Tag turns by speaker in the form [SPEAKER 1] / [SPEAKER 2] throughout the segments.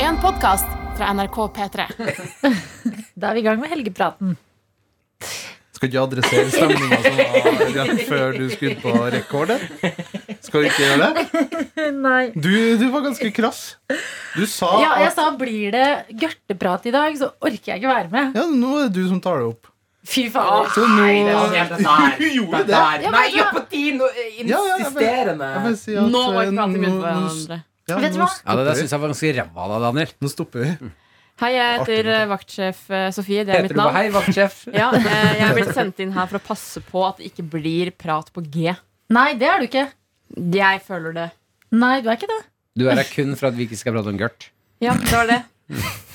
[SPEAKER 1] en podkast fra NRK P3.
[SPEAKER 2] Da er vi i gang med helgepraten.
[SPEAKER 3] Skal ikke adressere stemninga som var rett før du skulle på rekordet? Skal du ikke gjøre det?
[SPEAKER 2] Nei.
[SPEAKER 3] Du, du var ganske krass. Du sa
[SPEAKER 2] Ja, jeg
[SPEAKER 3] at
[SPEAKER 2] sa blir det gørteprat i dag, så orker jeg ikke være med.
[SPEAKER 3] ja, nå er det du som tar det opp.
[SPEAKER 2] Fy faen.
[SPEAKER 3] Så
[SPEAKER 4] Ah,
[SPEAKER 3] nå
[SPEAKER 4] Nei, det var helt det der.
[SPEAKER 3] Du gjorde
[SPEAKER 4] det der.
[SPEAKER 2] Ja, men
[SPEAKER 4] Nei,
[SPEAKER 5] altså-
[SPEAKER 2] da-
[SPEAKER 4] apati! No,
[SPEAKER 3] Ja, ja, jeg bare-
[SPEAKER 4] insisterende.
[SPEAKER 3] Jeg vil si at,
[SPEAKER 1] Nå må
[SPEAKER 3] eh,
[SPEAKER 1] vi prate mye
[SPEAKER 3] nå-
[SPEAKER 1] med hverandre.
[SPEAKER 3] Ja,
[SPEAKER 2] Vet du
[SPEAKER 3] nå
[SPEAKER 2] hva?
[SPEAKER 5] Ja, det
[SPEAKER 3] stopper
[SPEAKER 5] der
[SPEAKER 3] vi.
[SPEAKER 5] syns jeg var ganske ræva av deg, Daniel.
[SPEAKER 3] Nå stopper vi.
[SPEAKER 1] Hei, jeg
[SPEAKER 3] Artig,
[SPEAKER 1] heter eh, vaktsjef eh, Sofie. Det er
[SPEAKER 5] Heter
[SPEAKER 1] mitt
[SPEAKER 5] du på
[SPEAKER 1] navn.
[SPEAKER 5] hei, vaktsjef?
[SPEAKER 1] Ja, eh, jeg er blitt sendt inn her for å passe på at det ikke blir prat på G.
[SPEAKER 2] Nei, det er du ikke.
[SPEAKER 1] Jeg føler det.
[SPEAKER 2] Nei, du er ikke det.
[SPEAKER 5] Du er her kun for at vi ikke skal prate om gørt.
[SPEAKER 1] Ja, det var det.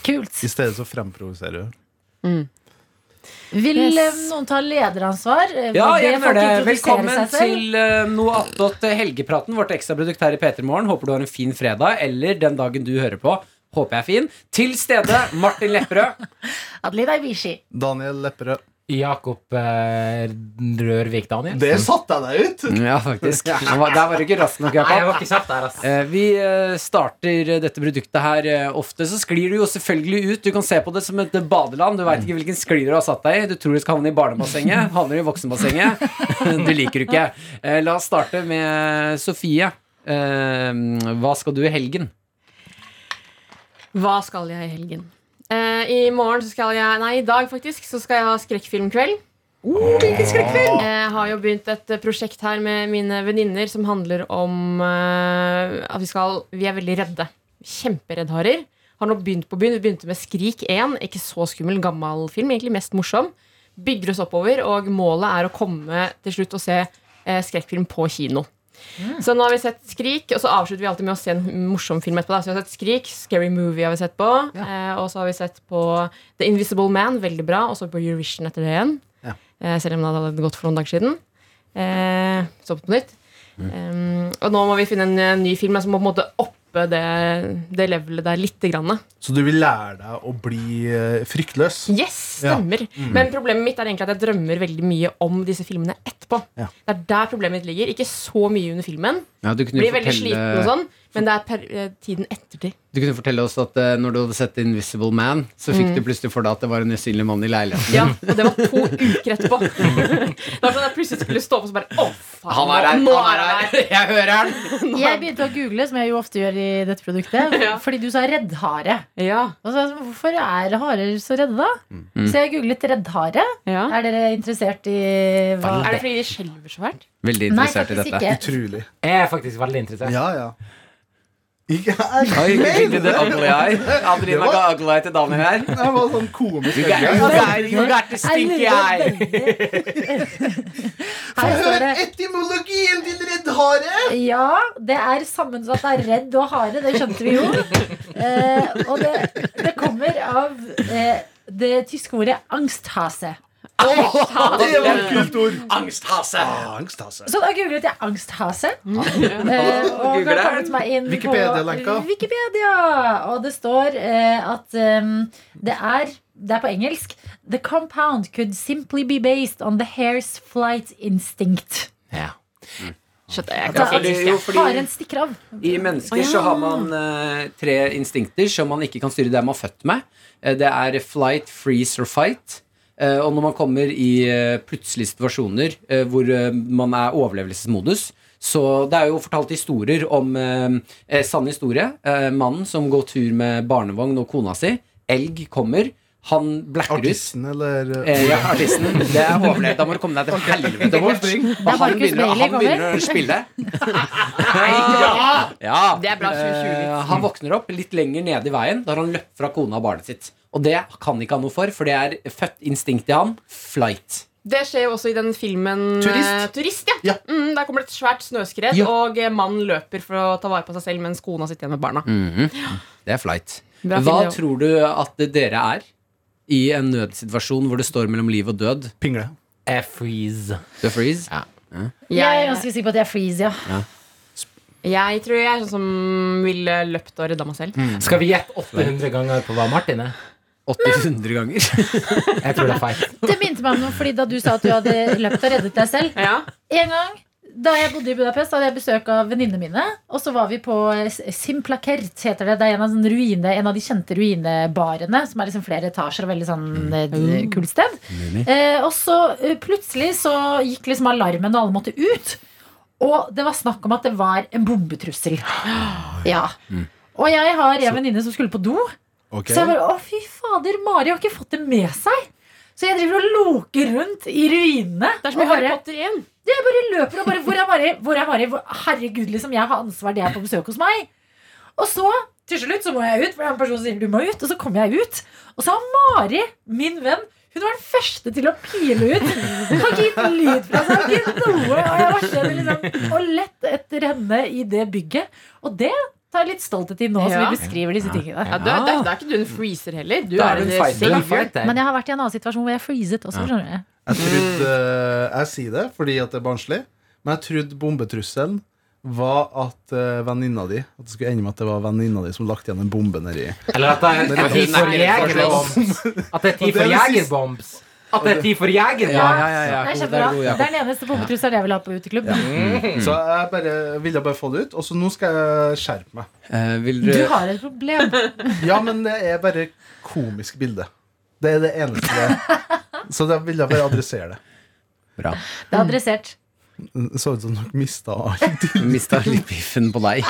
[SPEAKER 2] Kult.
[SPEAKER 3] I stedet så fremprovoserer du.
[SPEAKER 2] Vil
[SPEAKER 1] Yes.
[SPEAKER 2] eh, noen ta lederansvar? Eh,
[SPEAKER 5] Ja,
[SPEAKER 2] be
[SPEAKER 5] jeg
[SPEAKER 2] folk
[SPEAKER 5] mener det.
[SPEAKER 2] introdusere
[SPEAKER 5] Velkommen
[SPEAKER 2] seg selv?
[SPEAKER 5] til eh, noe attåt eh, helgepraten, vårt ekstraprodukt her i P3 Morgen. Håper du har en fin fredag, eller den dagen du hører på. Håper jeg er fin. Til stede Martin Lepperød.
[SPEAKER 2] Adelina Ibishi.
[SPEAKER 3] Daniel Lepperød.
[SPEAKER 6] Jakob eh, Rørvik Daniel.
[SPEAKER 3] Der satte jeg deg ut!
[SPEAKER 5] Ja, faktisk. Han var- Der var du ikke rask nok,
[SPEAKER 4] Nei, jeg
[SPEAKER 5] Jakob.
[SPEAKER 4] var ikke kjapp der, ass.
[SPEAKER 5] Eh, Vi eh, starter eh, dette produktet her eh, ofte, så sklir du jo selvfølgelig ut. Du kan se på det som et eh, badeland. Du veit ikke hvilken sklir du har satt deg i. Du tror du skal havne i barnebassenget, havner i voksenbassenget. Du liker du ikke. Eh, La oss starte med Sofie. Eh, Hva skal du i helgen?
[SPEAKER 1] Hva skal jeg i helgen? Eh, I morgen så skal jeg Nei, i dag faktisk så skal jeg ha skrekkfilmkveld. Eh, Jeg har jo begynt et eh, prosjekt her med mine venninner som handler om eh, at vi skal Vi er veldig redde. Kjempereddharer. Har nå begynt på byen. Vi begynte med Skrik 1. Ikke så skummel, gammel film. Egentlig mest morsom. Bygger oss oppover, og målet er å komme til slutt og se eh, skrekkfilm på kino. Så nå har vi sett Skrik, og så avslutter vi alltid med å se en morsom film etterpå. Da. Så vi har sett Skrik, Scary Movie har vi sett på, eh, og så har vi sett på The Invisible Man, veldig bra, og så på Eurovision etter det igjen. Eh, selv om det hadde gått for noen dager siden. Eh, så på nytt. Eh, og nå må vi finne en eh, ny film som må på en måte oppe det, det levelet der lite grann.
[SPEAKER 3] Så du vil lære deg å bli eh, fryktløs?
[SPEAKER 1] Yes, stemmer. Men problemet mitt er egentlig at jeg drømmer veldig mye om disse filmene etterpå.
[SPEAKER 3] Ja.
[SPEAKER 1] Det er der problemet mitt ligger. Ikke så mye under filmen.
[SPEAKER 5] Ja, du, kunne jo
[SPEAKER 1] Blir veldig sliten og
[SPEAKER 5] fortelle,
[SPEAKER 1] sånn, men det er per, eh, tiden ettertid.
[SPEAKER 5] du kunne fortelle oss at eh, når du hadde sett Invisible Man, så fikk du plutselig for deg at det var en usynlig mann i leiligheten.
[SPEAKER 1] Ja, og det var to uker etterpå. Det var sånn at Jeg plutselig skulle stå opp og så bare Å, faen!
[SPEAKER 5] Han er her!
[SPEAKER 1] nå
[SPEAKER 5] Han er her! Jeg hører han!
[SPEAKER 2] Jeg begynte å google, som jeg jo ofte gjør i dette produktet,
[SPEAKER 1] Ja.
[SPEAKER 2] fordi du sa reddhare.
[SPEAKER 1] Ja,
[SPEAKER 2] Og så, er jeg sånn, hvorfor er harer så redde, da?
[SPEAKER 5] Mm.
[SPEAKER 2] Så jeg googlet reddhare.
[SPEAKER 1] ja.
[SPEAKER 2] Er dere interessert i hva
[SPEAKER 1] Er det fordi de skjelver så fælt?
[SPEAKER 5] Veldig
[SPEAKER 2] Nei,
[SPEAKER 5] interessert i
[SPEAKER 2] faktisk
[SPEAKER 5] dette.
[SPEAKER 2] ikke.
[SPEAKER 3] Utrolig.
[SPEAKER 6] Jeg er faktisk veldig interessert.
[SPEAKER 3] Ja, ja. Ikke jeg.
[SPEAKER 5] Oi, ikke til det ugly eye. Adelina ga ugly eye til Daniel her.
[SPEAKER 3] Det var sånn komisk.
[SPEAKER 5] You got,
[SPEAKER 3] øye.
[SPEAKER 5] you got, you got the
[SPEAKER 2] Jeg
[SPEAKER 5] stinky
[SPEAKER 2] lurer
[SPEAKER 5] eye.
[SPEAKER 2] Her står det
[SPEAKER 3] etymologien din, reddhare!
[SPEAKER 2] Ja, det er sammensatt av redd og hare. Det skjønte vi jo. Eh, og det, det kommer av eh, det tyske ordet angsthase.
[SPEAKER 3] Det var et kult ord.
[SPEAKER 5] Angsthase.
[SPEAKER 3] Angst, altså.
[SPEAKER 2] Så da googlet jeg angsthase. Eh, og har
[SPEAKER 5] Googler det.
[SPEAKER 2] kommet meg inn på
[SPEAKER 3] Wikipedia-lenka.
[SPEAKER 2] Wikipedia. Og det står eh, at em, det er det er på engelsk. The compound could simply be based on the hare's flight instinct.
[SPEAKER 1] Shut the heck
[SPEAKER 5] Ja,
[SPEAKER 1] up.
[SPEAKER 5] fordi- jo, fordi-
[SPEAKER 2] Haren stikker av.
[SPEAKER 5] I mennesker så har man eh, tre instinkter som man ikke kan styre det man er født med. Eh, det er flight, freeze or fight. Eh, og når man kommer i eh, plutselige situasjoner eh, hvor eh, man er overlevelsesmodus så Det er jo fortalt historier om eh, eh, sann historie. Eh, mannen som går tur med barnevogn og kona si. Elg kommer. Han blacker ut.
[SPEAKER 3] Artisten, eller
[SPEAKER 5] Eh, ja, artisten. Det er overlevd. Da må du komme deg til helvete bort. Og
[SPEAKER 2] er
[SPEAKER 5] han
[SPEAKER 2] Marcus
[SPEAKER 5] begynner,
[SPEAKER 2] Bailey
[SPEAKER 5] han begynner å spille. Ja!
[SPEAKER 1] Det er bra 2020.
[SPEAKER 5] Eh, Han våkner opp litt lenger nede i veien da har han løpt fra kona og barnet sitt. Og det kan ikke han noe for, for det er født instinkt i han. Flight.
[SPEAKER 1] Det skjer jo også i den filmen
[SPEAKER 3] Turist.
[SPEAKER 1] eh, Turist, ja.
[SPEAKER 3] Ja.
[SPEAKER 1] Mm, der kommer det et svært snøskred,
[SPEAKER 5] Ja.
[SPEAKER 1] og eh, mannen løper for å ta vare på seg selv mens kona sitter igjen med barna.
[SPEAKER 5] Mm. Det er flight.
[SPEAKER 1] Bra
[SPEAKER 5] Hva
[SPEAKER 1] film, det
[SPEAKER 5] tror du at dere er i en nødsituasjon hvor det står mellom liv og død?
[SPEAKER 3] pingle.
[SPEAKER 6] Jeg freeze.
[SPEAKER 5] The freeze?
[SPEAKER 2] Jeg er ganske sikker på at jeg freeze, ja.
[SPEAKER 1] Jeg tror jeg er sånn som ville løpt og redda meg selv.
[SPEAKER 6] Skal vi gjette 800 ganger på hva Martin er?
[SPEAKER 5] 800 ganger.
[SPEAKER 6] Jeg tror det er feil.
[SPEAKER 2] Det minte meg om noe, fordi da du sa at du hadde løpt og reddet deg selv
[SPEAKER 1] Ja.
[SPEAKER 2] En gang Da jeg bodde i Budapest, hadde jeg besøk av venninnene mine. Og så var vi på eh, Simplakert, heter det. Det er en av, sånne ruine, en av de kjente ruinebarene, som er liksom flere etasjer og veldig sånn eh, kult sted. Eh, og så eh, plutselig så gikk liksom alarmen, og alle måtte ut. Og det var snakk om at det var en bombetrussel. Ja. Og jeg har en venninne som skulle på do.
[SPEAKER 3] Ok.
[SPEAKER 2] Så jeg bare, å fy fader, Mari har ikke fått det med seg. Så jeg driver og loker rundt i ruinene.
[SPEAKER 1] Det er som i
[SPEAKER 2] og
[SPEAKER 1] Harry
[SPEAKER 2] bare-
[SPEAKER 1] Potter 1.
[SPEAKER 2] jeg bare løper og bare Hvor er Mari? Hvor er Mari? Hvor, herregud, liksom, jeg har ansvar, det er på besøk hos meg. Og så, til slutt, så må jeg ut, for det er en person som sier du må ut. Og så kommer jeg ut, og så har Mari, min venn, hun var den første til å pile ut. Hun har ikke gitt lyd fra seg. Ikke gitt noe. Og jeg var selv liksom, og lett etter henne i det bygget. Og det tar jeg litt stolthet i nå, som
[SPEAKER 1] Ja.
[SPEAKER 2] vi beskriver disse tingene.
[SPEAKER 1] Ja, du er, det, er, det er ikke du en freezer heller. Du
[SPEAKER 5] Ah. Da er
[SPEAKER 1] er
[SPEAKER 5] du
[SPEAKER 1] en
[SPEAKER 5] en fighter.
[SPEAKER 1] savior.
[SPEAKER 2] Men jeg har vært i en annen situasjon hvor jeg freezet også, skjønner jeg.
[SPEAKER 3] Jeg trodde eh, Jeg sier det fordi at det er barnslig, men jeg trodde bombetrusselen var at eh, venninna di At det skulle ende med at det var venninna di som lagt igjen en bombe nedi.
[SPEAKER 6] Eller at det er tid for jegerbombs. At det er tid for jegerbombs. At det er tid for
[SPEAKER 5] ja.
[SPEAKER 6] jegerbombs.
[SPEAKER 2] Det er
[SPEAKER 5] God,
[SPEAKER 2] kjempebra.
[SPEAKER 5] god,
[SPEAKER 2] Det
[SPEAKER 5] Jakob.
[SPEAKER 2] er den eneste pumpetrusselen jeg vil ha på uteklubb.
[SPEAKER 3] Så jeg bare, ville bare få det ut. Og så nå skal jeg skjerpe meg.
[SPEAKER 5] Eh, vil
[SPEAKER 2] Du
[SPEAKER 5] du
[SPEAKER 2] har et problem.
[SPEAKER 3] Ja, men det er bare komisk bilde. Det er det eneste. Så da ville jeg bare adressere det.
[SPEAKER 5] Bra.
[SPEAKER 2] Det er adressert.
[SPEAKER 3] Det Så ut som dere mista alt.
[SPEAKER 5] Mista litt biffen på deg.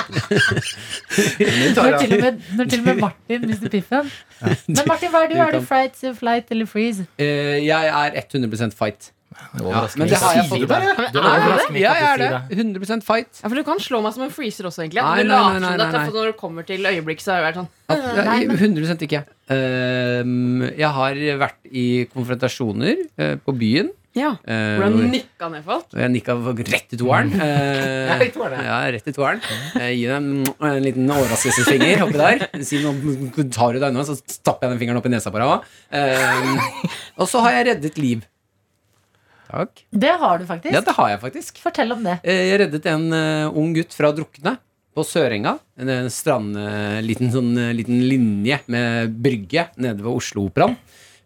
[SPEAKER 3] Det tar
[SPEAKER 2] Når til,
[SPEAKER 3] jeg.
[SPEAKER 2] og med, når til og med Martin mister piffen. Men Martin, hva er du?
[SPEAKER 5] du
[SPEAKER 2] Er du
[SPEAKER 5] kan-
[SPEAKER 2] fright, flight eller freeze?
[SPEAKER 5] Eh, jeg er 100 fight. Ja, men det har jeg
[SPEAKER 3] Sier
[SPEAKER 5] fått
[SPEAKER 3] det bare.
[SPEAKER 1] Men
[SPEAKER 6] Det
[SPEAKER 1] er det det?
[SPEAKER 6] overrasker meg
[SPEAKER 5] Ja,
[SPEAKER 6] ikke
[SPEAKER 5] jeg
[SPEAKER 6] at du
[SPEAKER 5] er
[SPEAKER 6] sier det.
[SPEAKER 5] det. 100 fight.
[SPEAKER 1] Ja, for du kan slå meg som en freezer også, egentlig.
[SPEAKER 5] Nei,
[SPEAKER 1] At du
[SPEAKER 5] nei,
[SPEAKER 1] later
[SPEAKER 5] nei,
[SPEAKER 1] som
[SPEAKER 5] nei,
[SPEAKER 1] det er tøft,
[SPEAKER 5] nei.
[SPEAKER 1] og når det kommer til øyeblikk, så er det sånn
[SPEAKER 5] At, ja, 100 ikke. Ehm, jeg har vært i konfrontasjoner eh, på byen.
[SPEAKER 1] Ja.
[SPEAKER 5] eh,
[SPEAKER 1] Hvordan
[SPEAKER 5] hvor-
[SPEAKER 1] nikka ned folk.
[SPEAKER 5] og jeg nikka rett i toeren. Eh,
[SPEAKER 6] Ja, i toeren, ja.
[SPEAKER 5] ja, rett i toeren. Eh, gi deg en, en liten overraskelsesfinger oppi der. Si noe, tar du deg unna, så stapper jeg den fingeren opp i nesa på deg òg. og så har jeg reddet liv. Takk.
[SPEAKER 2] Det har du faktisk.
[SPEAKER 5] Ja, det har jeg faktisk.
[SPEAKER 2] Fortell om det.
[SPEAKER 5] Eh, Jeg reddet en eh, ung gutt fra å drukne på Sørenga. En, eh, strand, eh, liten, sånn, eh, liten linje med brygge nede ved Oslo Operaen.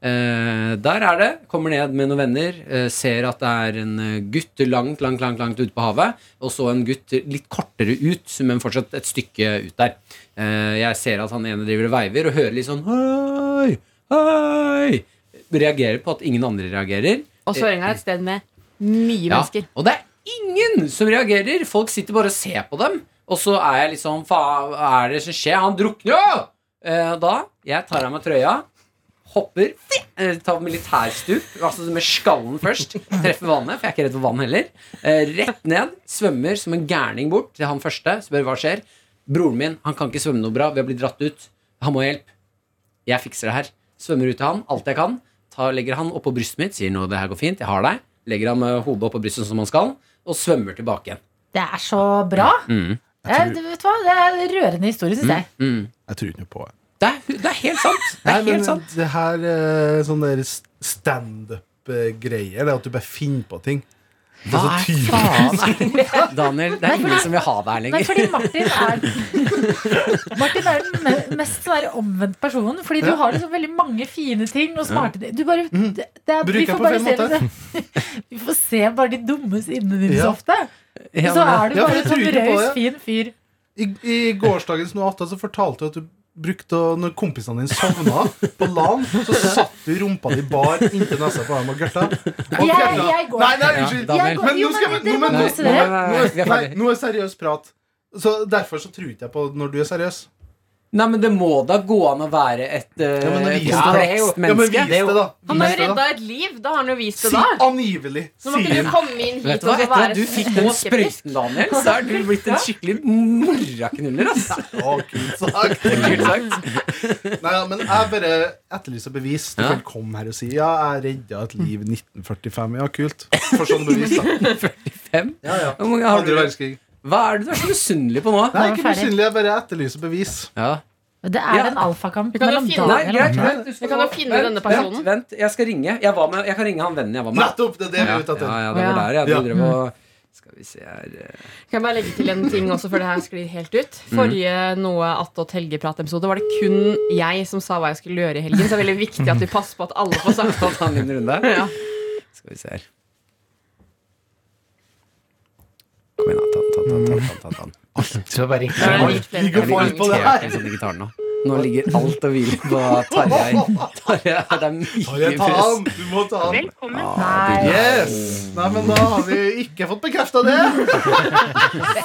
[SPEAKER 5] Eh, der er det. Kommer ned med noen venner. eh, ser at det er en eh, gutt langt, langt, langt, langt ute på havet. Og så en gutt litt kortere ut, men fortsatt et stykke ut der. Eh, jeg ser at han ene driver og veiver, og hører litt sånn Hei! Hei! Reagerer på at ingen andre reagerer.
[SPEAKER 1] Og Sørenga er et sted med mye
[SPEAKER 5] Ja,
[SPEAKER 1] mennesker.
[SPEAKER 5] Og det er ingen som reagerer. Folk sitter bare og ser på dem. Og så er jeg liksom Hva er det som skjer? Han drukner jo! Eh, Da jeg tar av meg trøya, hopper, eh, tar militærstup, altså med skallen først, treffer vannet, for jeg er ikke redd for vann heller. Eh, Rett ned, svømmer som en gærning bort til han første, spør hva skjer. Broren min han kan ikke svømme noe bra, vi har blitt dratt ut. Han må ha hjelp. Jeg fikser det her. Svømmer ut til han, alt jeg kan. Tar, legger han oppå brystet mitt, sier nå det her går fint, jeg har deg. Legger han eh, hodet oppå brystet som han skal, og svømmer tilbake igjen.
[SPEAKER 2] Det er så bra. Eh, du vet hva? Det er en rørende historie, syns jeg.
[SPEAKER 5] Mm.
[SPEAKER 3] Jeg tror ikke noe på det.
[SPEAKER 5] Det, er, det er helt sant! Det er
[SPEAKER 3] Nei, men
[SPEAKER 5] helt sant.
[SPEAKER 3] Det her eh, sånn der standup-greier, det er at du bare finner på ting.
[SPEAKER 5] Hva
[SPEAKER 3] så
[SPEAKER 5] er
[SPEAKER 3] typisk.
[SPEAKER 5] faen er det? Daniel, det er ingen som vil ha deg her
[SPEAKER 2] Nei,
[SPEAKER 5] lenger.
[SPEAKER 2] fordi Martin er Martin er den me- mest sånn der omvendt personen. Fordi du har liksom veldig mange fine ting og smarte ting. Du bare det, det er, Vi
[SPEAKER 3] Mhm. Bruker
[SPEAKER 2] får
[SPEAKER 3] på
[SPEAKER 2] bare
[SPEAKER 3] feil
[SPEAKER 2] se
[SPEAKER 3] måte.
[SPEAKER 2] det- Vi får se bare de dumme sidene dine så
[SPEAKER 3] Ja.
[SPEAKER 2] ofte.
[SPEAKER 5] Ja,
[SPEAKER 2] Så
[SPEAKER 5] men-
[SPEAKER 2] er du
[SPEAKER 3] Ja, for
[SPEAKER 2] bare
[SPEAKER 3] jeg
[SPEAKER 2] en
[SPEAKER 3] tror
[SPEAKER 2] sånn
[SPEAKER 3] ikke på
[SPEAKER 2] raus,
[SPEAKER 3] det.
[SPEAKER 2] fin fyr.
[SPEAKER 3] I, i gårsdagens noe annet, så fortalte du at du brukte å- Når kompisene dine sovna på LAN, så satt du rumpa di bar inntil nesa på dem og gørta. Og
[SPEAKER 2] Jeg-
[SPEAKER 3] fjerna-
[SPEAKER 2] jeg går.
[SPEAKER 3] Nei, nei,
[SPEAKER 5] Ja,
[SPEAKER 3] unnskyld.
[SPEAKER 5] Daniel.
[SPEAKER 2] Jeg går-
[SPEAKER 3] Men
[SPEAKER 2] Jo,
[SPEAKER 3] nå skal vi
[SPEAKER 2] men dere
[SPEAKER 3] nå-
[SPEAKER 2] må
[SPEAKER 3] men- nå-
[SPEAKER 2] kose
[SPEAKER 5] Nei,
[SPEAKER 2] dere.
[SPEAKER 5] nei,
[SPEAKER 3] nå
[SPEAKER 5] nei, vi er
[SPEAKER 3] er- Nei,
[SPEAKER 5] ferdig.
[SPEAKER 3] nå er seriøs prat. Så Derfor så tror ikke jeg på når du er seriøs.
[SPEAKER 5] Nei, men det må da gå an å være et eh,
[SPEAKER 3] Ja, men det viser
[SPEAKER 6] det jo-
[SPEAKER 5] komplekst
[SPEAKER 3] Ja, men
[SPEAKER 5] menneske.
[SPEAKER 3] vis det, da.
[SPEAKER 1] Han har
[SPEAKER 3] Vis
[SPEAKER 1] jo
[SPEAKER 3] det, da.
[SPEAKER 1] redda et liv. Da har han jo vist det,
[SPEAKER 3] Si
[SPEAKER 1] da.
[SPEAKER 3] angivelig.
[SPEAKER 1] Så må ikke du
[SPEAKER 3] Sier
[SPEAKER 1] komme inn hit
[SPEAKER 5] Vet du hva,
[SPEAKER 1] og så
[SPEAKER 5] Etter at
[SPEAKER 1] være
[SPEAKER 5] du fikk den
[SPEAKER 1] så skeptisk.
[SPEAKER 5] sprøyten, Daniel, så er du blitt en skikkelig morraknuller. ass.
[SPEAKER 3] Å, kult sagt.
[SPEAKER 5] Kult sagt.
[SPEAKER 3] Nei, ja, men jeg bare etterlyser bevis. Du
[SPEAKER 5] Ja.
[SPEAKER 3] kan komme her og si Ja, jeg redda et liv 1945. Ja, kult. For sånne bevis, da.
[SPEAKER 5] Fem.
[SPEAKER 3] Ja, ja.
[SPEAKER 5] Hvor mange har
[SPEAKER 3] Andre
[SPEAKER 5] du?
[SPEAKER 3] verdenskrig.
[SPEAKER 5] Hva er det du er så misunnelig på nå?
[SPEAKER 3] Nei,
[SPEAKER 2] var
[SPEAKER 3] ikke
[SPEAKER 2] ferdig.
[SPEAKER 3] misunnelig. Jeg bare etterlyser bevis.
[SPEAKER 5] Ja.
[SPEAKER 2] Det er
[SPEAKER 5] Ja.
[SPEAKER 2] en
[SPEAKER 1] kan
[SPEAKER 2] alfakamp
[SPEAKER 1] jo
[SPEAKER 2] mellom
[SPEAKER 1] finne-
[SPEAKER 5] Nei,
[SPEAKER 2] Daniel og
[SPEAKER 5] greit, greit. du
[SPEAKER 1] Vi
[SPEAKER 5] skal
[SPEAKER 1] kan jo
[SPEAKER 5] gå.
[SPEAKER 1] finne
[SPEAKER 5] Vent,
[SPEAKER 1] denne personen.
[SPEAKER 5] Vent, vent, jeg skal ringe. Jeg, var med, jeg kan ringe han vennen jeg var med.
[SPEAKER 3] Nettopp! Det er det vi
[SPEAKER 5] Ja,
[SPEAKER 3] er ute
[SPEAKER 5] ja,
[SPEAKER 3] etter.
[SPEAKER 5] ja, det var der, ja.
[SPEAKER 3] Ja.
[SPEAKER 5] Du drev og Skal vi se her eh.
[SPEAKER 1] Kan jeg bare legge til en ting også før det her sklir helt ut?
[SPEAKER 5] Mm.
[SPEAKER 1] Forrige noe attåt helgeprat-episode var det kun jeg som sa hva jeg skulle gjøre i helgen. Så det er veldig viktig at vi passer på at alle får sagt
[SPEAKER 5] Ta ta en liten runde.
[SPEAKER 1] Ja.
[SPEAKER 5] Skal vi se her. Kom igjen, da. Ta den, ta den, ta den, ta den, ta den.
[SPEAKER 6] Så bare ringte
[SPEAKER 1] Ja, altså,
[SPEAKER 6] jeg.
[SPEAKER 1] det er
[SPEAKER 6] Oi,
[SPEAKER 1] litt flere.
[SPEAKER 5] Jeg blir irritert med sånne gitarer nå. Nå ligger alt og hviler på Tarjei. Tarjei, det er mye
[SPEAKER 3] Jeg tar
[SPEAKER 5] press. Ah,
[SPEAKER 3] han! Du må ta han.
[SPEAKER 4] Velkommen.
[SPEAKER 2] Nei,
[SPEAKER 3] Yes! Nei, men da har vi ikke fått bekrefta det.
[SPEAKER 2] Mm.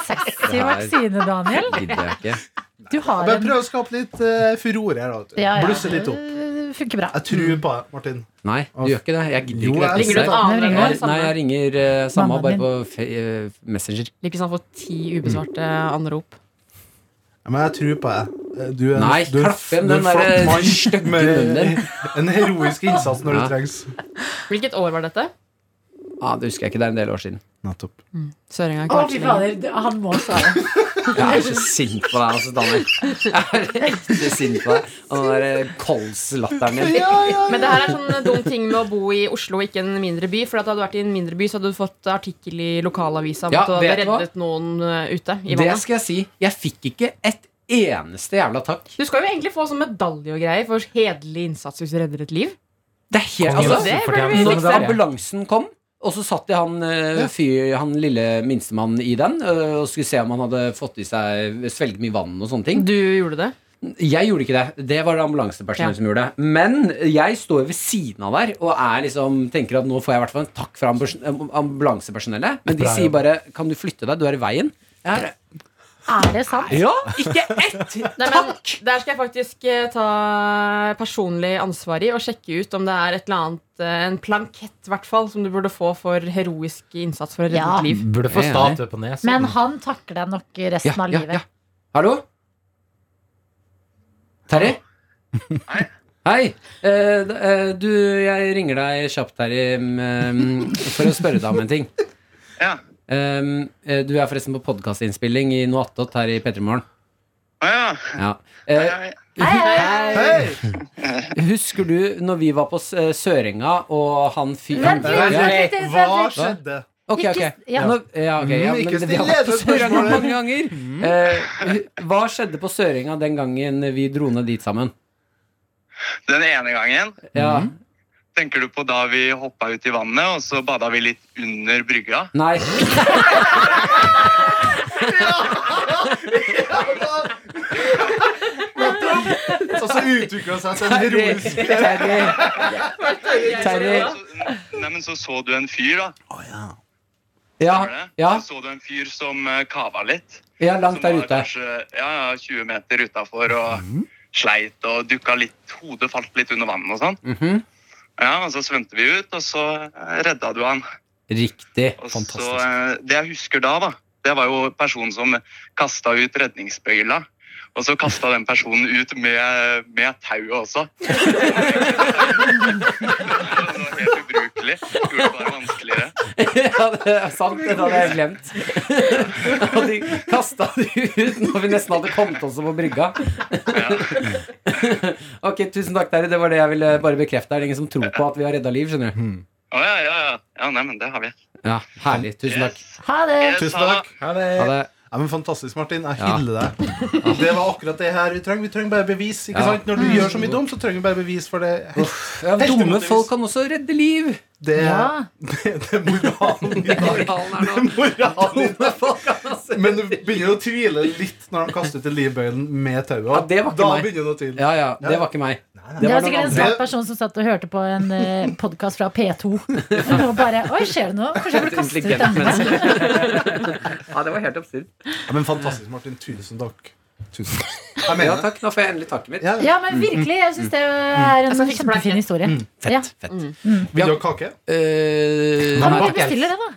[SPEAKER 2] sexy vaksine, Daniel.
[SPEAKER 5] Gidder jeg ikke.
[SPEAKER 2] Du har
[SPEAKER 3] Men
[SPEAKER 2] en
[SPEAKER 3] prøv å skape litt eh, furore her, da. vet du.
[SPEAKER 2] Ja, ja.
[SPEAKER 3] Blusse litt opp.
[SPEAKER 2] Det Funker bra.
[SPEAKER 3] Jeg tror på deg, Martin.
[SPEAKER 5] Nei, du gjør ikke det. Jeg gidder
[SPEAKER 3] Jo,
[SPEAKER 1] Ringer
[SPEAKER 3] jeg
[SPEAKER 5] ikke det
[SPEAKER 1] du et
[SPEAKER 5] presset.
[SPEAKER 1] annet
[SPEAKER 2] Nei,
[SPEAKER 1] nummer?
[SPEAKER 5] Jeg- Nei, jeg ringer eh, samme,
[SPEAKER 2] Mammaen
[SPEAKER 5] bare
[SPEAKER 2] din.
[SPEAKER 5] på fe eh, Messenger.
[SPEAKER 1] Ikke sant, fått ti ubesvarte anrop.
[SPEAKER 3] Ja, men jeg tror på deg. Eh, Du er,
[SPEAKER 5] Nei,
[SPEAKER 3] du er-
[SPEAKER 5] klapp igjen
[SPEAKER 3] du er
[SPEAKER 5] den
[SPEAKER 3] en flott
[SPEAKER 5] der eh,
[SPEAKER 3] mann
[SPEAKER 5] stygge
[SPEAKER 3] med
[SPEAKER 5] munnen din.
[SPEAKER 3] En heroisk innsats når
[SPEAKER 5] Ja.
[SPEAKER 3] det trengs.
[SPEAKER 1] Hvilket år var dette?
[SPEAKER 5] Ah, det husker jeg ikke. Det er en del år siden.
[SPEAKER 3] Nettopp.
[SPEAKER 1] Søringa
[SPEAKER 2] Å, fy fader. du- Han må svare.
[SPEAKER 5] Jeg er så sint på deg, altså, Daniel. Jeg er ekte sint på deg. Og den der eh, kols-latteren din.
[SPEAKER 1] Men det her er sånn dum ting med å bo i Oslo, ikke en mindre by. For at hadde du vært i en mindre by, så hadde du fått artikkel i lokalavisa om
[SPEAKER 5] Ja,
[SPEAKER 1] at du hadde
[SPEAKER 5] vet du hva?
[SPEAKER 1] reddet noen eh, ute i
[SPEAKER 5] Det
[SPEAKER 1] vannet.
[SPEAKER 5] skal jeg si. Jeg fikk ikke et eneste jævla takk.
[SPEAKER 1] Du skal jo egentlig få sånn medalje og greier for hederlig innsats hvis du redder et liv.
[SPEAKER 5] Det liksom er helt,
[SPEAKER 1] Kongen,
[SPEAKER 5] altså,
[SPEAKER 1] det
[SPEAKER 6] for
[SPEAKER 1] burde
[SPEAKER 6] dem.
[SPEAKER 1] vi
[SPEAKER 5] når
[SPEAKER 1] fikse.
[SPEAKER 5] ambulansen kom, og så satt det han, eh, fyr, han lille minstemann i den eh, og skulle se om han hadde fått i seg svelget mye vann og sånne ting.
[SPEAKER 1] Du gjorde det.
[SPEAKER 5] Jeg gjorde ikke det. Det var det
[SPEAKER 1] Ja.
[SPEAKER 5] ambulansepersonell som gjorde det. Men jeg står ved siden av der og er liksom, tenker at nå får jeg i hvert fall en takk fra ambus- ambulansepersonellet. Men de
[SPEAKER 6] Bra
[SPEAKER 5] sier
[SPEAKER 6] jobb.
[SPEAKER 5] bare 'kan du flytte deg, du er i veien'. Jeg er,
[SPEAKER 2] Er det sant?
[SPEAKER 5] ja, ikke ett
[SPEAKER 1] Nei, men
[SPEAKER 5] takk!
[SPEAKER 1] der skal jeg faktisk eh, ta personlig ansvar i og sjekke ut om det er et eller annet, eh, en plankett i hvert fall, som du burde få for heroisk innsats for å redde
[SPEAKER 2] Ja.
[SPEAKER 1] et liv.
[SPEAKER 6] Burde få
[SPEAKER 5] Jeg er
[SPEAKER 6] statue på nesen.
[SPEAKER 2] Men han takler deg nok resten av livet.
[SPEAKER 5] Hallo? Terje? Hei. Eh, d- eh, du, jeg ringer deg kjapt, Terje, mm, eh, for å spørre deg om en ting.
[SPEAKER 7] Ja.
[SPEAKER 5] Um, eh, du er forresten på podkastinnspilling i noe attåt her i P3 Morgen.
[SPEAKER 7] Å ja.
[SPEAKER 5] Ja. Eh,
[SPEAKER 7] Hei,
[SPEAKER 3] Hei!
[SPEAKER 5] husker du når vi var på S- eh, Sørenga, og han fyr...
[SPEAKER 2] Vent litt,
[SPEAKER 5] Ja,
[SPEAKER 2] vent litt,
[SPEAKER 3] Hva
[SPEAKER 2] vent litt.
[SPEAKER 3] skjedde?
[SPEAKER 5] Ok, ok.
[SPEAKER 2] Ikke- ja.
[SPEAKER 5] Nå, ja, ok,
[SPEAKER 3] Mm,
[SPEAKER 5] ja, men
[SPEAKER 3] ikke
[SPEAKER 5] det- vi har
[SPEAKER 3] still Mm.
[SPEAKER 5] vært på
[SPEAKER 3] ledende
[SPEAKER 5] Sørenga
[SPEAKER 3] spørsmål.
[SPEAKER 5] mange ganger. Eh, hva skjedde på Sørenga den gangen vi dro ned dit sammen?
[SPEAKER 7] Den ene gangen
[SPEAKER 5] Ja.
[SPEAKER 3] Mm.
[SPEAKER 7] tenker du på da vi hoppa ut i vannet, og så bada vi litt under brygga.
[SPEAKER 5] Nei.
[SPEAKER 3] Så, så utvikla seg til en
[SPEAKER 5] Terje,
[SPEAKER 3] heroisk
[SPEAKER 5] Terje, Terje.
[SPEAKER 7] Nei, men så så du en fyr, da.
[SPEAKER 5] Ja,
[SPEAKER 7] var det?
[SPEAKER 5] ja,
[SPEAKER 7] Så så du en fyr som eh, kava litt.
[SPEAKER 5] ja, langt
[SPEAKER 7] som
[SPEAKER 5] der
[SPEAKER 7] var
[SPEAKER 5] ute.
[SPEAKER 7] Kanskje, ja, ja, 20 meter utafor og sleit og dukka litt Hodet falt litt under vannet og sånn.
[SPEAKER 5] Mhm.
[SPEAKER 7] Ja, og Så svømte vi ut, og så eh, redda du han.
[SPEAKER 5] Riktig.
[SPEAKER 7] Og så,
[SPEAKER 5] Fantastisk.
[SPEAKER 7] eh, det jeg husker da, da, det var jo personen som kasta ut redningsbøyla. Og så kasta den personen ut med, med tauet også. det var helt ubrukelig. Gjorde det bare vanskeligere.
[SPEAKER 5] Ja, det er sant. Det hadde jeg glemt. Og de kasta det ut når vi nesten hadde kommet oss opp på brygga. Ok, tusen takk, Terje. Det var det jeg ville bare bekrefte. Det er ingen som tror på at vi har redda liv, skjønner du.
[SPEAKER 7] Å ja, ja, ja. Ja, nei, men det har vi.
[SPEAKER 5] Ja, Herlig. Tusen takk.
[SPEAKER 2] Ha det.
[SPEAKER 3] Tusen takk.
[SPEAKER 5] Ha det.
[SPEAKER 3] Ja, men Fantastisk, Martin. Jeg
[SPEAKER 5] Ja.
[SPEAKER 3] hyller deg. Det var akkurat det her vi trenger. Vi trenger bare bevis. ikke
[SPEAKER 5] Ja. Mm.
[SPEAKER 3] sant? Når du gjør så mye dumt, så trenger vi bare bevis for det.
[SPEAKER 5] Ja, dumme folk kan også redde liv.
[SPEAKER 3] Det,
[SPEAKER 2] Ja.
[SPEAKER 3] det, det er moralen i dag.
[SPEAKER 5] Moralen er nå
[SPEAKER 3] Moralen.
[SPEAKER 5] Dumme folk kan også
[SPEAKER 3] Men du begynner å tvile litt når han kaster ut i livbøylen med tauet.
[SPEAKER 5] Ja, det var ikke
[SPEAKER 3] da
[SPEAKER 5] meg.
[SPEAKER 3] begynner du å tvile.
[SPEAKER 5] Ja, ja. Det var ikke meg.
[SPEAKER 2] Det var
[SPEAKER 5] noen
[SPEAKER 2] sikkert en
[SPEAKER 5] andre.
[SPEAKER 2] smart person som satt og hørte på en eh, podkast fra P2. Og bare Oi, skjer det noe? Kanskje jeg burde kaste ut
[SPEAKER 5] Intelligent
[SPEAKER 2] den?
[SPEAKER 5] menneske. Ja, det var helt absurd.
[SPEAKER 3] Ja, men Fantastisk, Martin. Tusen takk. Tusen takk. Jeg
[SPEAKER 5] Ja,
[SPEAKER 3] mener det.
[SPEAKER 5] takk. Nå får jeg endelig taket mitt.
[SPEAKER 3] Ja.
[SPEAKER 2] Ja, men virkelig. Jeg syns det er en
[SPEAKER 1] skal fikse
[SPEAKER 2] kjempefin
[SPEAKER 1] blanketten.
[SPEAKER 2] historie.
[SPEAKER 5] Mm.
[SPEAKER 2] Ja. Mm.
[SPEAKER 5] Fett. fett.
[SPEAKER 3] Vil du ha kake?
[SPEAKER 5] Eh,
[SPEAKER 2] Kan
[SPEAKER 5] nei,
[SPEAKER 2] man ikke
[SPEAKER 5] takk, jeg-
[SPEAKER 2] bestille det, da?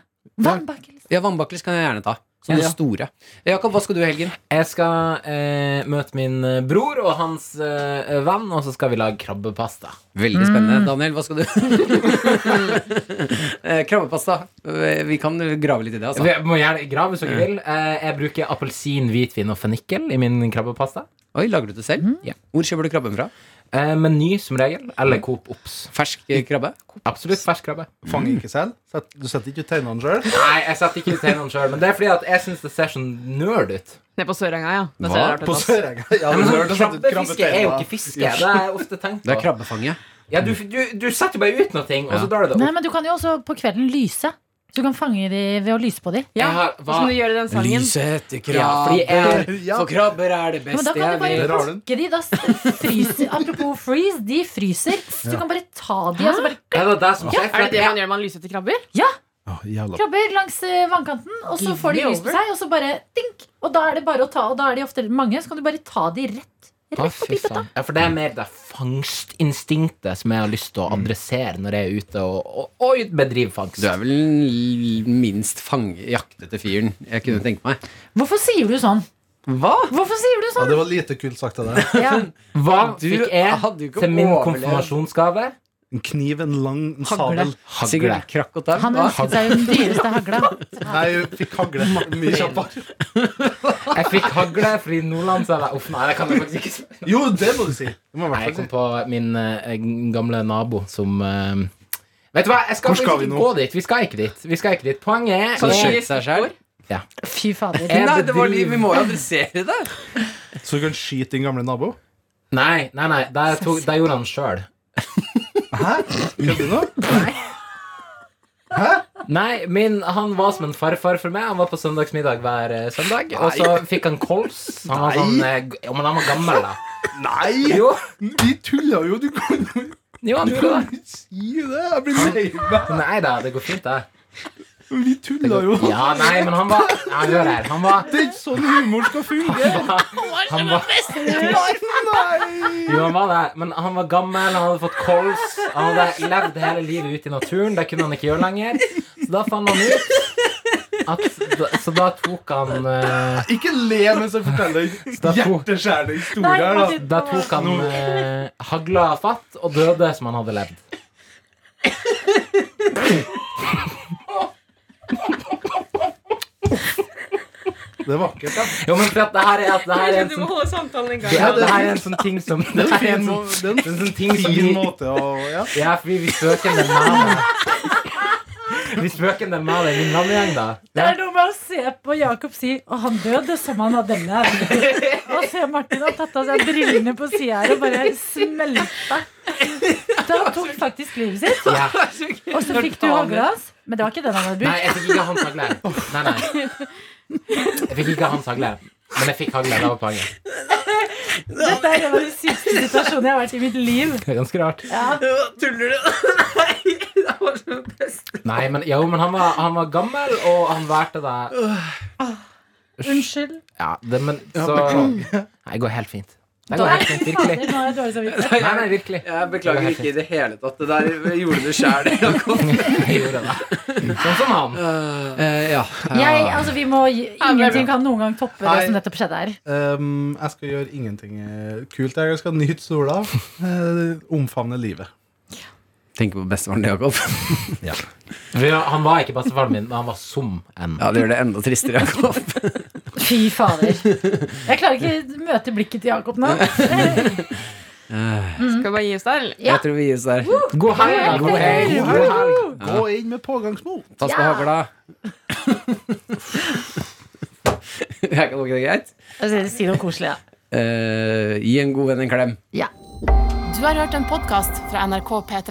[SPEAKER 2] Vannbakke, liksom.
[SPEAKER 5] Ja, vannbakkelis kan jeg gjerne ta. Som
[SPEAKER 6] Ja.
[SPEAKER 5] det store. Jakob, hva skal du i helgen?
[SPEAKER 6] Jeg skal eh, møte min eh, bror og hans eh, venn, og så skal vi lage krabbepasta.
[SPEAKER 5] Veldig spennende. Mm. Daniel, hva skal du? Eh, Krabbepasta. Eh, Vi kan grave litt i det, altså.
[SPEAKER 6] Vi må gjerne grave hvis dere vil. Eh, jeg bruker appelsin, hvitvin og fennikel i min krabbepasta.
[SPEAKER 5] Oi, lager du det selv? Ja. Hvor kjøper du krabben fra?
[SPEAKER 6] Eh, meny som regel,
[SPEAKER 5] Mm.
[SPEAKER 6] eller Coop Ops.
[SPEAKER 5] Fersk eh, krabbe?
[SPEAKER 6] Absolutt fersk krabbe.
[SPEAKER 3] Fanger ikke selv? Sett- Du setter ikke ut tegnene sjøl?
[SPEAKER 6] Nei, jeg setter ikke ut hendene sjøl, men det er fordi at jeg syns det ser sånn nerd ut.
[SPEAKER 1] Ned på Sørenga, ja. Det ser
[SPEAKER 5] Hva?
[SPEAKER 1] rart ut,
[SPEAKER 3] På
[SPEAKER 6] altså,
[SPEAKER 1] ass.
[SPEAKER 3] Sørenga? Ja,
[SPEAKER 5] sånn
[SPEAKER 3] du lørte å sette ut
[SPEAKER 6] Krabbefiske er jo
[SPEAKER 3] krabbeteiner.
[SPEAKER 6] ikke fiske. Det er jeg ofte tenkt
[SPEAKER 5] Det er
[SPEAKER 6] på.
[SPEAKER 5] krabbefanget.
[SPEAKER 6] Ja, du, du, du setter jo bare ut noe, ting, og
[SPEAKER 5] Ja.
[SPEAKER 6] så drar du det
[SPEAKER 2] Nei,
[SPEAKER 6] opp.
[SPEAKER 2] men du kan jo også på kvelden lyse. Du kan fange de ved å lyse på de.
[SPEAKER 1] Ja, Sånn-
[SPEAKER 5] Jeg har- hva?
[SPEAKER 1] Som du gjør i den sangen.
[SPEAKER 5] etter krabber,
[SPEAKER 3] Ja.
[SPEAKER 5] for krabber er det
[SPEAKER 2] Ja, men da
[SPEAKER 5] beste
[SPEAKER 2] kan
[SPEAKER 5] jeg
[SPEAKER 2] du bare
[SPEAKER 3] Der
[SPEAKER 5] vet.
[SPEAKER 3] har du den.
[SPEAKER 2] plukke de. Da s- fryser, apropos freeze, de fryser. Så du kan bare ta de. Altså bare
[SPEAKER 6] Det var det som skjer.
[SPEAKER 1] Er det det man gjør når man lyser etter krabber?
[SPEAKER 3] Å, jævla
[SPEAKER 2] krabber langs eh, vannkanten, og så
[SPEAKER 1] Give
[SPEAKER 2] får de
[SPEAKER 1] me
[SPEAKER 2] lys på
[SPEAKER 1] over.
[SPEAKER 2] seg, og så bare dink! Og da er det bare å ta, og da er de ofte mange, så kan du bare ta de rett.
[SPEAKER 6] Å, fy faen. Ja, for det er mer det fangstinstinktet som jeg har lyst til å adressere når jeg er ute og, og, og bedriver fangst.
[SPEAKER 5] Mm. Du er vel den l- minst fang- jaktete fyren jeg kunne tenke meg.
[SPEAKER 2] Hvorfor sier du sånn?
[SPEAKER 5] Hva?
[SPEAKER 2] Hvorfor sier du
[SPEAKER 3] Ja,
[SPEAKER 2] sånn?
[SPEAKER 3] det var lite kult sagt av deg.
[SPEAKER 2] Ja.
[SPEAKER 6] Hva
[SPEAKER 5] Du
[SPEAKER 6] fikk jeg
[SPEAKER 5] hadde jo ikke
[SPEAKER 6] til min
[SPEAKER 5] overlevd.
[SPEAKER 6] konfirmasjonsgave?
[SPEAKER 3] En kniv, en lang en
[SPEAKER 2] Hagle.
[SPEAKER 3] sabel.
[SPEAKER 5] Sigurd Krakk og Tau?
[SPEAKER 2] Han
[SPEAKER 5] Hva?
[SPEAKER 2] ønsket seg jo den dyreste hagla.
[SPEAKER 3] Nei, jeg fikk hagle mye kjappere.
[SPEAKER 6] Jeg fikk hagle fordi Nordland sa Uff, nei, det kan jeg faktisk ikke si.
[SPEAKER 3] Jo, det må du si. Det må jeg i
[SPEAKER 6] Nei, jeg
[SPEAKER 3] hvert
[SPEAKER 6] kom
[SPEAKER 3] fall si.
[SPEAKER 6] på min eh, gamle nabo som eh, Vet du hva, jeg skal,
[SPEAKER 3] Hvor skal
[SPEAKER 6] faktisk
[SPEAKER 3] vi
[SPEAKER 6] ikke
[SPEAKER 3] nå?
[SPEAKER 6] gå dit. Vi skal ikke dit. Vi skal ikke dit. Poenget er
[SPEAKER 5] Kan du
[SPEAKER 6] jeg-
[SPEAKER 5] skyte seg selv?
[SPEAKER 2] Fy fader.
[SPEAKER 6] Jeg
[SPEAKER 5] Nei, det var liv.
[SPEAKER 6] bedriver-
[SPEAKER 5] Vi må jo adressere det.
[SPEAKER 3] Så du kan skyte din gamle nabo?
[SPEAKER 6] Nei, nei, nei. Det, tok, det gjorde han sjøl.
[SPEAKER 3] Hæ? Kødder du nå?
[SPEAKER 6] Nei, min, han var som en farfar for meg. Han var på søndagsmiddag hver eh, søndag. Og så fikk han kols. Han var
[SPEAKER 3] Nei.
[SPEAKER 6] sånn, eh, g- ja, men han var gammel, da.
[SPEAKER 3] Nei!
[SPEAKER 6] Jo,
[SPEAKER 3] Vi tulla jo! Du kan jo
[SPEAKER 6] jo han
[SPEAKER 3] du
[SPEAKER 6] gjorde
[SPEAKER 3] kan
[SPEAKER 6] det.
[SPEAKER 3] ikke si det! Jeg blir lei meg.
[SPEAKER 6] Nei da, det går fint, det.
[SPEAKER 3] Vi tulla jo.
[SPEAKER 6] Ja, nei, men han var ja, Hør her. Han var
[SPEAKER 3] Det er ikke sånn humor skal fungere.
[SPEAKER 6] Han var,
[SPEAKER 3] Nei!
[SPEAKER 6] jo, han var det, men han var gammel, han hadde fått kols. Han hadde levd hele livet ute i naturen. Det kunne han ikke gjøre lenger. Så da fant han ut at, Så da tok han eh,
[SPEAKER 3] Ikke le mens jeg forteller
[SPEAKER 6] da to-
[SPEAKER 3] hjerteskjærende
[SPEAKER 2] Nei,
[SPEAKER 3] historier. da.
[SPEAKER 2] Martin,
[SPEAKER 6] Da tok han eh, hagla fatt og døde som han hadde levd.
[SPEAKER 3] Det er vakkert. da.
[SPEAKER 6] Jo, men for at det her er, at det her er en
[SPEAKER 1] Du må
[SPEAKER 6] sånn
[SPEAKER 1] holde samtalen i gang.
[SPEAKER 6] ja, det her er en sånn ting som Det
[SPEAKER 3] Det er
[SPEAKER 6] her er
[SPEAKER 3] en
[SPEAKER 6] en
[SPEAKER 3] fin,
[SPEAKER 6] sånn,
[SPEAKER 3] må- det
[SPEAKER 6] det er
[SPEAKER 3] er
[SPEAKER 6] en sånn ting
[SPEAKER 3] en
[SPEAKER 6] som
[SPEAKER 3] fin
[SPEAKER 6] vi
[SPEAKER 3] måte å ja.
[SPEAKER 6] Ja, fordi vi spøker en del med det. Vi spøker en del med det i min vennegjeng, da.
[SPEAKER 2] Det er noe med å se på Jakob si Og han døde som han hadde levd. Og se Martin har tatt av seg brillene på sida her og bare smelta. Da han tok faktisk livet sitt.
[SPEAKER 6] Ja.
[SPEAKER 2] Og så fikk du hagla hans. Men det var ikke den han hadde
[SPEAKER 6] Nei,
[SPEAKER 2] brukt.
[SPEAKER 6] jeg fikk ikke hans hagle. Nei, nei. Jeg fikk ikke hans hagle. Men jeg fikk hagle. Det var poenget.
[SPEAKER 2] Dette er en av de siste situasjonene jeg har vært i mitt liv.
[SPEAKER 6] Det er ganske rart.
[SPEAKER 5] Tuller du? sånn
[SPEAKER 6] Nei, men, jo, men han, var, han var gammel, og han valgte det
[SPEAKER 2] Unnskyld.
[SPEAKER 6] Ja, det, men så Nei, det går helt fint. Det går helt fint,
[SPEAKER 2] fader,
[SPEAKER 6] virkelig.
[SPEAKER 2] nå har jeg dårlig samvittighet.
[SPEAKER 6] Nei, nei, virkelig.
[SPEAKER 5] Jeg beklager ikke i det hele tatt. Det der gjorde du sjæl.
[SPEAKER 6] Jeg gjorde det. Sånn som han.
[SPEAKER 5] Eh, ja.
[SPEAKER 2] Jeg, altså, vi må, ingenting kan noen gang toppe det som nettopp skjedde her.
[SPEAKER 3] Um, jeg skal gjøre ingenting eh, kult. Jeg skal nyte sola. eh, omfavne livet.
[SPEAKER 5] Tenker på bestefaren til Jakob.
[SPEAKER 6] For Han var ikke bestefaren min, men han var som en.
[SPEAKER 5] Ja, det gjør det enda tristere, Jakob.
[SPEAKER 2] Fy fader. Jeg klarer ikke å møte blikket til Jakob nå.
[SPEAKER 5] Mm.
[SPEAKER 1] Skal vi bare gi oss der, eller?
[SPEAKER 5] Jeg tror vi gir oss der.
[SPEAKER 6] God helg! God helg! God helg.
[SPEAKER 3] Gå inn med pågangsmot.
[SPEAKER 5] Pass på hagla. Jeg kan ikke det greit.
[SPEAKER 2] Altså, Si noe koselig, da.
[SPEAKER 5] Eh, gi en god venn en klem.
[SPEAKER 4] Du har hørt en podkast fra NRK P3.